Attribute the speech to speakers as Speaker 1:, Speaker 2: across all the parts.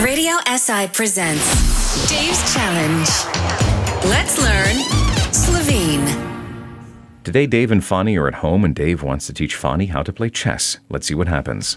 Speaker 1: Radio SI presents Dave's Challenge. Let's learn Slovene.
Speaker 2: Today, Dave and Fani are at home, and Dave wants to teach Fani how to play chess. Let's see what happens.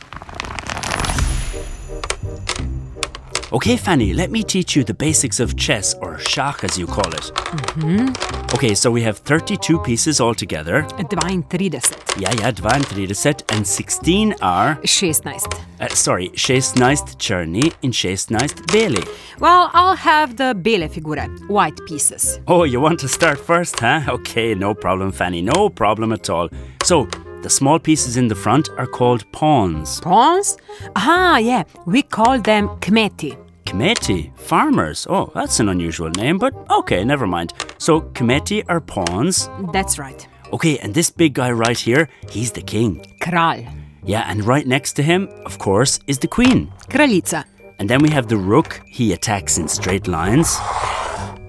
Speaker 3: Okay, Fanny, let me teach you the basics of chess, or shach as you call it. Mm-hmm. Okay, so we have 32 pieces altogether.
Speaker 4: 32,
Speaker 3: Yeah, yeah, 32, and 16 are,
Speaker 4: 16.
Speaker 3: uh, sorry, 16 črni in 16 beli.
Speaker 4: Well, I'll have the bele figure, white pieces.
Speaker 3: Oh, you want to start first, huh? Okay, no problem, Fanny, no problem at all. So, the small pieces in the front are called pawns.
Speaker 4: Prawns? Ah, yeah, we call them kmeti.
Speaker 3: Kmeti, farmers. Oh, that's an unusual name, but okay, never mind. So, Kmeti are pawns.
Speaker 4: That's right.
Speaker 3: Okay, and this big guy right here, he's the king.
Speaker 4: Kral,
Speaker 3: Yeah, and right next to him, of course, is the queen.
Speaker 4: kraljica.
Speaker 3: And then we have the rook, he attacks in straight lines.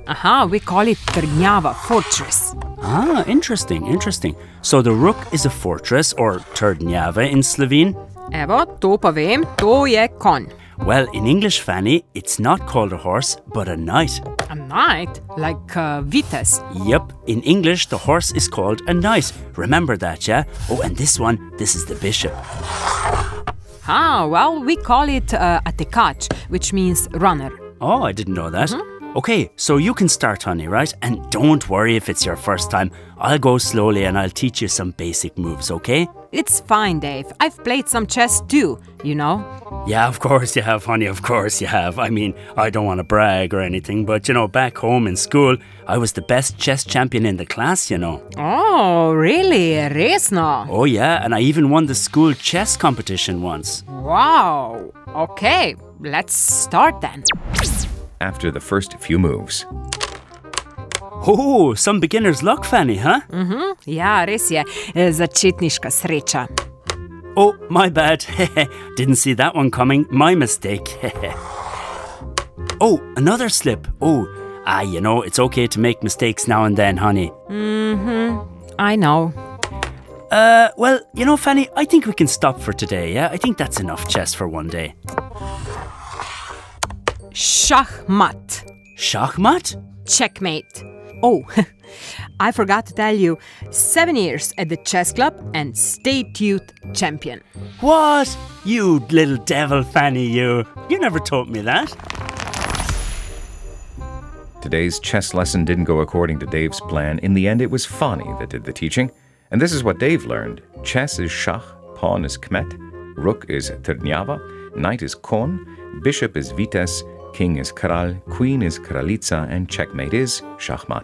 Speaker 4: Aha, we call it trnjava, fortress.
Speaker 3: Ah, interesting, interesting. So the rook is a fortress, or trdnjava in Slovene.
Speaker 4: Evo, to pa vem, to je kon.
Speaker 3: Well, in English, Fanny, it's not called a horse, but a knight.
Speaker 4: A knight, like uh, vitez.
Speaker 3: Yep, in English, the horse is called a knight. Remember that, yeah? Oh, and this one, this is the bishop.
Speaker 4: Ah, well, we call it uh, atekač, which means runner.
Speaker 3: Oh, I didn't know that. Okay, so you can start, honey, right? And don't worry if it's your first time. I'll go slowly and I'll teach you some basic moves, okay?
Speaker 4: It's fine, Dave. I've played some chess too, you know.
Speaker 3: Yeah, of course you have, honey, of course you have. I mean, I don't want to brag or anything, but you know, back home in school, I was the best chess champion in the class, you know.
Speaker 4: Oh, really? Resno?
Speaker 3: Oh, yeah, and I even won the school chess competition once.
Speaker 4: Wow. Okay, let's start then.
Speaker 2: After the first few moves,
Speaker 3: Oh, some beginner's luck, Fanny, huh?
Speaker 4: Ja, res je, eh, začetniška sreča.
Speaker 3: Oh, my bad. Didn't see that one coming. My mistake. oh, another slip. Oh, ah, you know, it's okay to make mistakes now and then, honey.
Speaker 4: I know.
Speaker 3: Uh, well, you know, Fanny, I think we can stop for today, yeah? I think that's enough chess for one day.
Speaker 4: Šahmat.
Speaker 3: Shachmat?
Speaker 4: Checkmate. Oh, I forgot to tell you, seven years at the chess club and state youth champion.
Speaker 3: What? You little devil, Fanny, you. You never taught me that.
Speaker 2: today's chess lesson didn't go according to Dave's plan. In the end, it was Fani that did the teaching. And this is what Dave learned chess is shach, pawn is kmet, rook is trdnjava, knight is kon, bishop is vites, king is kral, queen is kralica, and checkmate is shachmat.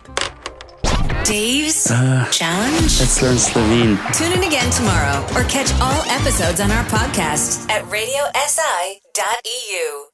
Speaker 1: Dave's Challenge.
Speaker 3: Uh, Let's learn Slovene.
Speaker 1: Tune in again tomorrow or catch all episodes on our podcast at radiosi.eu.